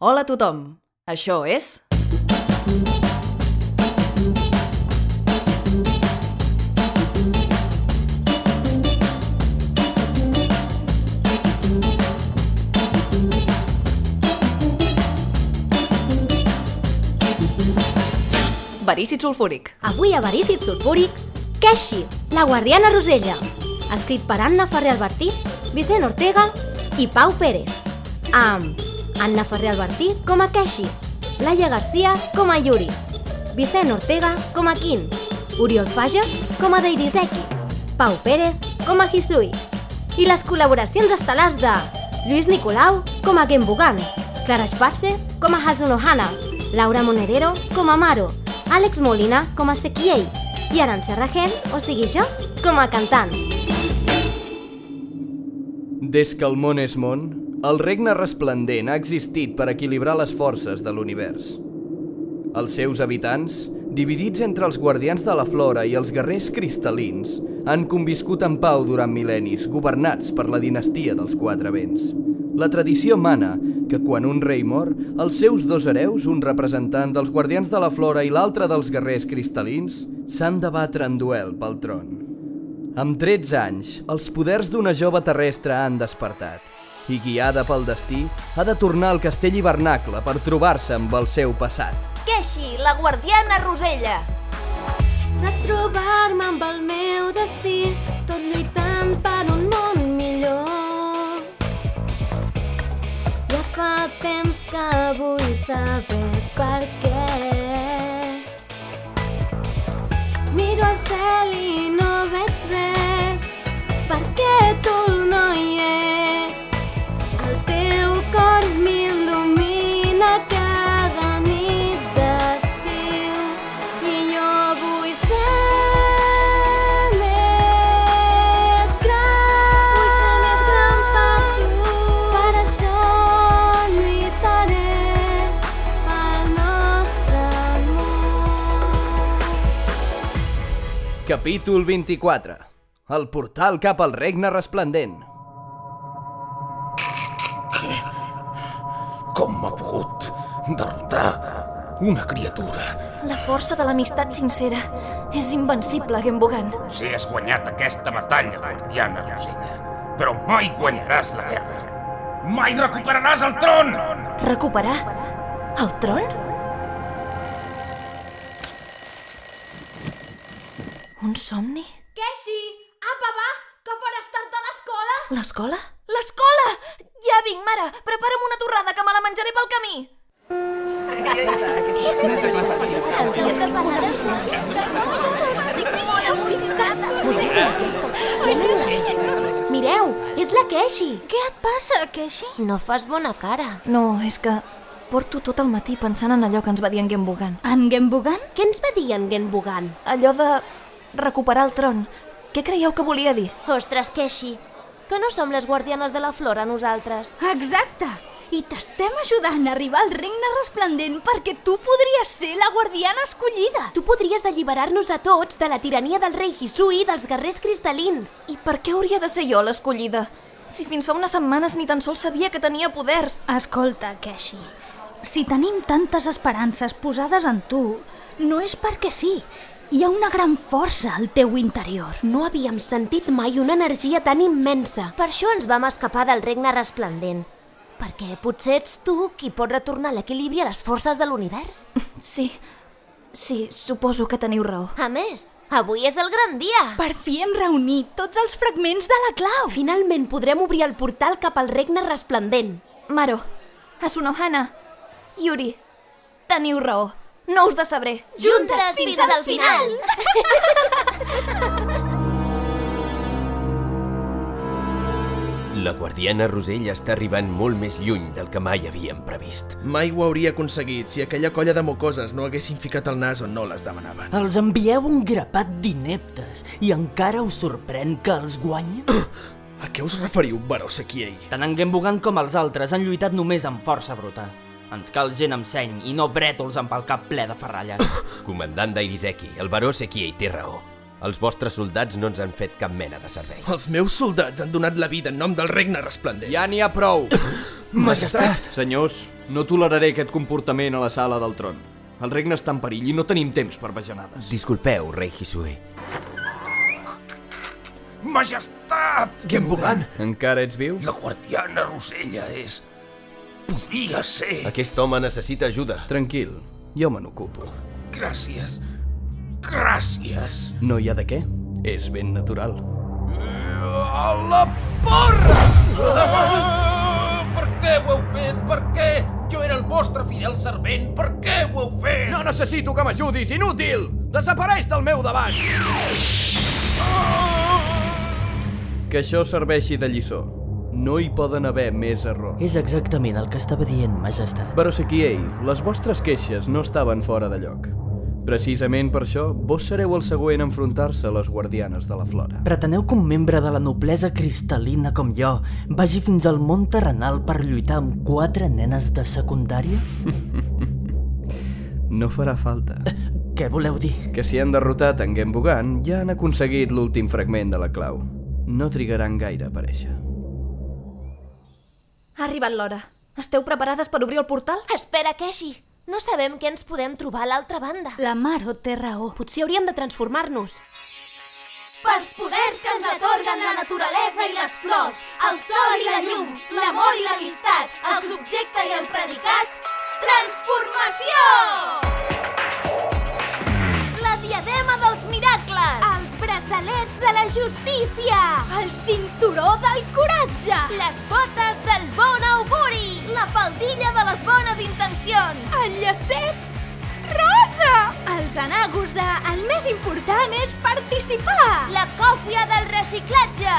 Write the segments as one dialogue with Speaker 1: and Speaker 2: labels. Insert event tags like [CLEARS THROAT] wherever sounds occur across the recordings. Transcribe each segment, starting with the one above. Speaker 1: Hola a tothom! Això és... Verícid sulfúric.
Speaker 2: Avui a Verícid Sulfúric, Keshi, la guardiana Rosella. Escrit per Anna Ferrer Albertí, Vicent Ortega i Pau Pérez. Amb Anna Ferrer Albertí com a Keshi, Laia Garcia com a Yuri, Vicent Ortega com a Kim, Oriol Fages com a Deiriseki, Pau Pérez com a Hisui i les col·laboracions estel·lars de Lluís Nicolau com a Genbugan, Clara Schwarze com a Hazunohana, Laura Monedero com a Maro, Àlex Molina com a Sekiei i Arantxa Regent, o sigui jo, com a cantant.
Speaker 3: Des que el món és món, el regne resplendent ha existit per equilibrar les forces de l'univers. Els seus habitants, dividits entre els guardians de la flora i els guerrers cristal·lins, han conviscut en pau durant mil·lennis, governats per la dinastia dels quatre vents. La tradició mana que quan un rei mor, els seus dos hereus, un representant dels guardians de la flora i l'altre dels guerrers cristal·lins, s'han de batre en duel pel tron. Amb 13 anys, els poders d'una jove terrestre han despertat i, guiada pel destí, ha de tornar al castell hivernacle per trobar-se amb el seu passat.
Speaker 4: Queixi, la guardiana Rosella.
Speaker 2: De trobar-me amb el meu destí, tot lluitant per un món millor. Ja fa temps que vull saber per què. Miro al cel i no veig res, perquè tu no hi ets. El teu cor m'il·lumina cada nit d'estiu i jo vull ser més gran. Vull ser més gran per tu. Per això lluitaré pel nostre món.
Speaker 3: Capítol 24. El portal cap al regne resplendent.
Speaker 5: Com m'ha pogut derrotar una criatura?
Speaker 4: La força de l'amistat sincera és invencible, Gembogan.
Speaker 5: Potser has guanyat aquesta batalla, guardiana Rosella, però mai guanyaràs la guerra. Mai recuperaràs el tron!
Speaker 4: Recuperar el tron? Un somni?
Speaker 2: Keshi, apa va, que faràs tard a l'escola?
Speaker 4: L'escola? L'escola! Ja vinc, mare! Prepara'm una torrada que me la menjaré pel camí!
Speaker 2: Mireu, és la Keshi.
Speaker 4: Què et passa, Keshi?
Speaker 2: No fas bona cara.
Speaker 4: No, és que porto tot el matí pensant en allò que ens va dir en Gembogan.
Speaker 6: En Genbogan?
Speaker 2: Què ens va dir en Genbogan?
Speaker 4: Allò de recuperar el tron. Què creieu que volia dir?
Speaker 2: Ostres, Keshi, que no som les guardianes de la flora nosaltres.
Speaker 6: Exacte! I t'estem ajudant a arribar al regne resplendent perquè tu podries ser la guardiana escollida.
Speaker 2: Tu podries alliberar-nos a tots de la tirania del rei Hisui i dels guerrers cristal·lins.
Speaker 4: I per què hauria de ser jo l'escollida? Si fins fa unes setmanes ni tan sols sabia que tenia poders.
Speaker 6: Escolta, Keshi, si tenim tantes esperances posades en tu, no és perquè sí. Hi ha una gran força al teu interior.
Speaker 2: No havíem sentit mai una energia tan immensa. Per això ens vam escapar del regne resplendent. Perquè potser ets tu qui pot retornar l'equilibri a les forces de l'univers.
Speaker 4: Sí, sí, suposo que teniu raó.
Speaker 2: A més, avui és el gran dia!
Speaker 6: Per fi hem reunit tots els fragments de la clau.
Speaker 2: Finalment podrem obrir el portal cap al regne resplendent.
Speaker 4: Maro, Asunohana, Yuri, teniu raó. No us decebré.
Speaker 2: Juntes fins al final!
Speaker 7: La guardiana Rosella està arribant molt més lluny del que mai havíem previst.
Speaker 8: Mai ho hauria aconseguit si aquella colla de mocoses no haguessin ficat el nas on no les demanaven.
Speaker 9: Els envieu un grapat d'ineptes i encara us sorprèn que els guanyin?
Speaker 8: A què us referiu, Baró Sequiei?
Speaker 10: [CLEARS THROAT] Tant en Genbugan com els altres han lluitat només amb força bruta. Ens cal gent amb seny i no brètols amb el cap ple de ferralla.
Speaker 7: Comandant d'Airiseki, el baró Sekiei té raó. Els vostres soldats no ens han fet cap mena de servei.
Speaker 8: Els meus soldats han donat la vida en nom del regne resplendent.
Speaker 7: [COUGHS]
Speaker 3: Ja n'hi ha prou!
Speaker 8: Majestat!
Speaker 3: Senyors, no toleraré aquest comportament a la sala del tron. El regne està en perill i no tenim temps per bajanades.
Speaker 7: Disculpeu, rei Hisui.
Speaker 5: Majestat!
Speaker 7: Genbogan!
Speaker 3: Encara ets viu?
Speaker 5: La guardiana Rosella és... Podria ser...
Speaker 7: Aquest home necessita ajuda.
Speaker 3: Tranquil, jo me n'ocupo.
Speaker 5: Gràcies. Gràcies.
Speaker 3: No hi ha de què. És ben natural.
Speaker 5: A la porra! Ah, per què ho heu fet? Per què? Jo era el vostre fidel servent. Per què ho heu fet?
Speaker 3: No necessito que m'ajudis, inútil! Desapareix del meu davant! Que això serveixi de lliçó. No hi poden haver més errors.
Speaker 9: [CLEARS THROAT] És exactament el que estava dient, majestat.
Speaker 3: Però Sekiei, les vostres queixes no estaven fora de lloc. Precisament per això, vos sereu el següent a enfrontar-se a les guardianes de la flora.
Speaker 9: Preteneu que un membre de la noblesa cristal·lina com jo vagi fins al món terrenal per lluitar amb quatre nenes de secundària?
Speaker 3: No farà falta.
Speaker 9: Què voleu dir?
Speaker 3: Que si han derrotat en Genbogan, ja han aconseguit l'últim fragment de la clau. No trigaran gaire a aparèixer.
Speaker 4: Ha arribat l'hora. Esteu preparades per obrir el portal?
Speaker 11: Espera, Keshi. No sabem què ens podem trobar a l'altra banda.
Speaker 6: La Maro té raó.
Speaker 11: Potser hauríem de transformar-nos. Pels poders que ens atorguen la naturalesa i les flors, el sol i la llum, l'amor i l'amistat, el subjecte i el predicat, transformació! La diadema dels miracles! Els braçalets de la justícia! El cinturó del coratge! Les botes del bon auguri! La faldilla de les bones intencions! El llacet rosa! Els anagos de... El més important és participar! La còfia del reciclatge!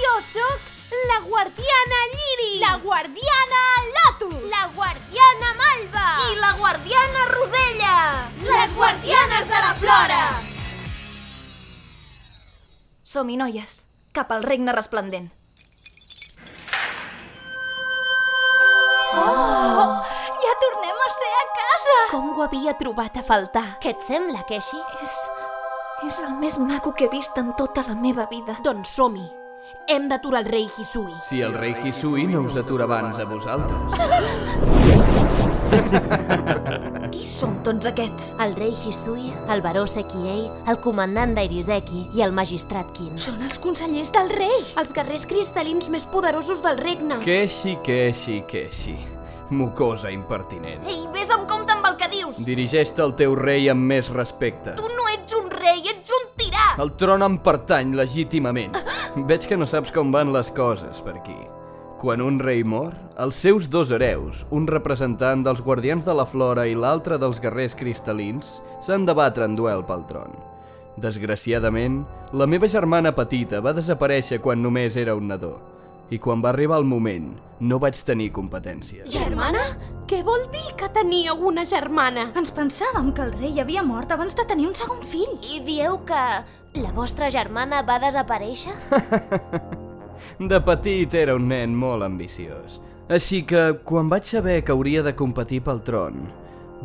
Speaker 11: Jo sóc la guardiana lliri! La guardiana lotus! La guardiana malva! I la guardiana rosella! Les guardianes de la flora!
Speaker 4: Som-hi, noies. Cap al regne resplendent.
Speaker 11: Oh, Ja tornem a ser a casa!
Speaker 4: Com ho havia trobat a faltar?
Speaker 11: Què et sembla, Keshi?
Speaker 4: És... és el més maco que he vist en tota la meva vida.
Speaker 11: Doncs som-hi. Hem d'aturar el rei Hisui.
Speaker 3: Si el rei Hisui no us atura abans a vosaltres.
Speaker 4: Qui són tots aquests?
Speaker 11: El rei Hisui, el baró Sekiei, el comandant d'Airiseki i el magistrat Kin.
Speaker 6: Són els consellers del rei!
Speaker 11: Els guerrers cristal·lins més poderosos del regne.
Speaker 3: Queixi, queixi, queixi. Mucosa impertinent.
Speaker 11: Ei, vés amb compte amb el que dius!
Speaker 3: Dirigeix-te al teu rei amb més respecte.
Speaker 11: Tu no ets un rei, ets un tirà!
Speaker 3: El tron em pertany
Speaker 11: [LAUGHS]
Speaker 3: legítimament. Veig que no saps com van les coses per aquí. Quan un rei mor, els seus dos hereus, un representant dels Guardians de la Flora i l'altre dels Guerrers Cristal·lins, s'han de batre en duel pel tron. Desgraciadament, la meva germana petita va desaparèixer quan només era un nadó. I quan va arribar el moment, no vaig tenir competència.
Speaker 11: Germana? Què vol dir que teníeu una germana?
Speaker 6: Ens pensàvem que el rei havia mort abans de tenir un segon fill.
Speaker 11: I dieu que la vostra germana va desaparèixer?
Speaker 3: De petit era un nen molt ambiciós. Així que, quan vaig saber que hauria de competir pel tron,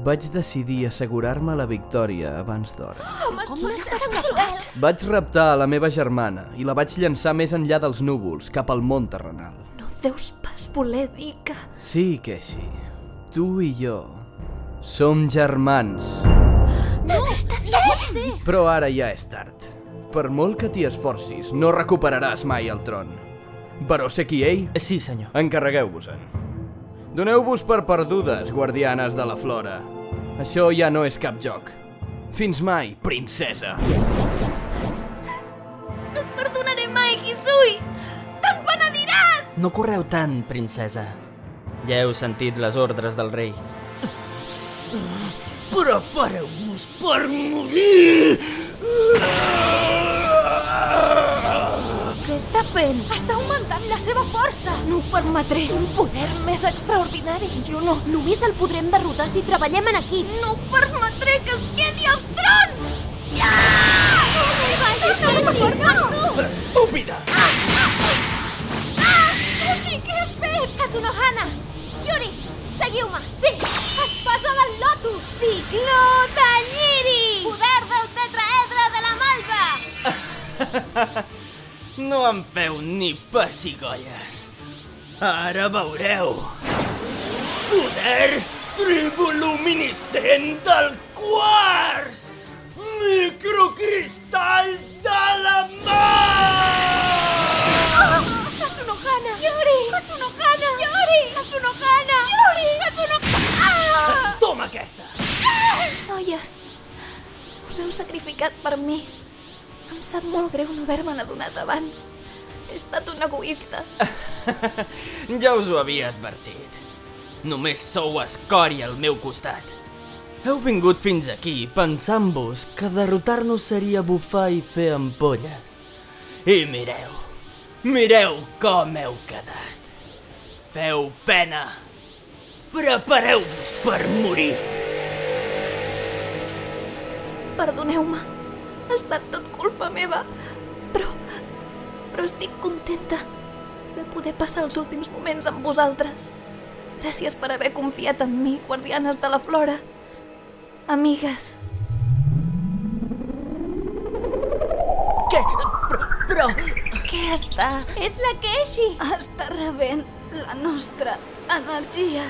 Speaker 3: vaig decidir assegurar-me la victòria abans d'hora.
Speaker 11: Com, com estàs trapat?
Speaker 3: Vaig raptar a la meva germana i la vaig llançar més enllà dels núvols, cap al món terrenal.
Speaker 4: No deus pas voler dir que...
Speaker 3: Sí, Keshi, tu i jo som germans.
Speaker 11: No, està dient!
Speaker 3: Però ara ja és tard. Per molt que t'hi esforcis, no recuperaràs mai el tron. Baró Sekiei,
Speaker 10: Eh,
Speaker 9: Sí, senyor.
Speaker 3: encarregueu-vos-en. Doneu-vos per perdudes, guardianes de la flora. Això ja no és cap joc. Fins mai, princesa!
Speaker 11: No et perdonaré mai, Hisui! Te'n penediràs!
Speaker 9: No correu tant, princesa.
Speaker 10: Ja heu sentit les ordres del rei.
Speaker 9: Prepareu-vos per morir!
Speaker 11: Què està fent?
Speaker 6: Està augmentant la seva força!
Speaker 11: No ho permetré. Un poder més extraordinari. Jo no. Només el podrem derrotar si treballem en equip. No permetré que es quedi al tron! Ja! No m'hi vagis, no m'hi per tu!
Speaker 8: Estúpida!
Speaker 11: Ah! Kushi, què has fet? Kasunohana! Yuri, seguiu-me! Sí! Espasa del Lotus! Cicló de Lliri! Poder del tetraedre de la malva!
Speaker 10: No em feu ni pessigolles.
Speaker 8: Ara veureu. Poder triboluminescent del quars! Microcristalls de la mà!
Speaker 12: Hasunokana! Yuri! Hasunokana! Yuri! Hasunokana! Yuri!
Speaker 11: Ah!
Speaker 12: Hasunokana!
Speaker 8: Toma aquesta!
Speaker 4: Noies, us heu sacrificat per mi. Em sap molt greu no haver-me'n adonat abans. He estat un egoista.
Speaker 10: Ja us ho havia advertit. Només sou escòria al meu costat. Heu vingut fins aquí pensant-vos que derrotar-nos seria bufar i fer ampolles. I mireu, mireu com heu quedat. Feu pena. Prepareu-vos per morir.
Speaker 4: Perdoneu-me. Ha estat tot culpa meva. Però... però estic contenta de poder passar els últims moments amb vosaltres. Gràcies per haver confiat en mi, guardianes de la flora. Amigues.
Speaker 8: Què? Però... però...
Speaker 4: Què està?
Speaker 12: És la Keshi!
Speaker 4: Està rebent la nostra energia.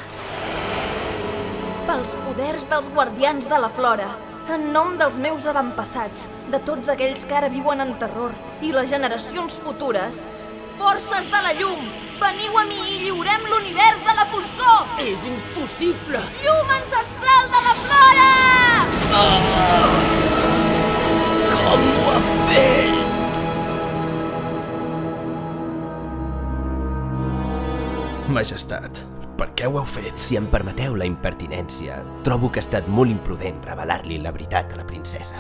Speaker 4: Pels poders dels guardians de la flora, en nom dels meus avantpassats, de tots aquells que ara viuen en terror, i les generacions futures, forces de la llum, veniu a mi i lliurem l'univers de la foscor!
Speaker 8: És impossible!
Speaker 12: Llum ancestral de la flora!
Speaker 8: Com ho ha fet?
Speaker 13: Majestat, per què ho heu fet?
Speaker 5: Si em permeteu la impertinència, trobo que ha estat molt imprudent revelar-li la veritat a la princesa.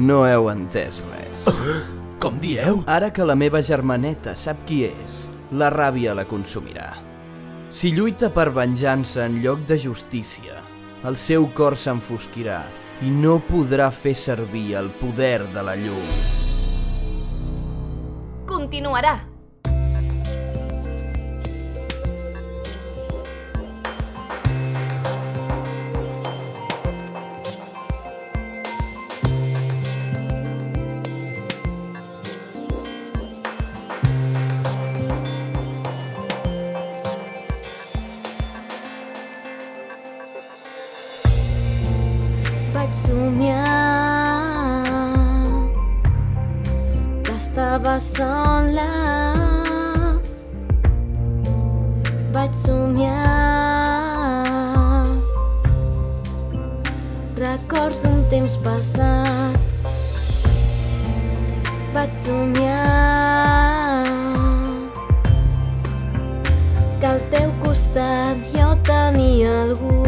Speaker 3: No heu entès res.
Speaker 13: Com dieu?
Speaker 3: Ara que la meva germaneta sap qui és, la ràbia la consumirà. Si lluita per venjança en lloc de justícia, el seu cor s'enfosquirà i no podrà fer servir el poder de la llum.
Speaker 4: Continuarà.
Speaker 2: vaig somiar que estava sola. Vaig somiar records d'un temps passat. Vaig somiar que al teu costat jo tenia algú.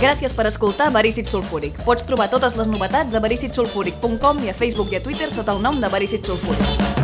Speaker 1: Gràcies per escoltar Verícit Sulfúric. Pots trobar totes les novetats a vericitsulfúric.com i a Facebook i a Twitter sota el nom de Verícit Sulfúric.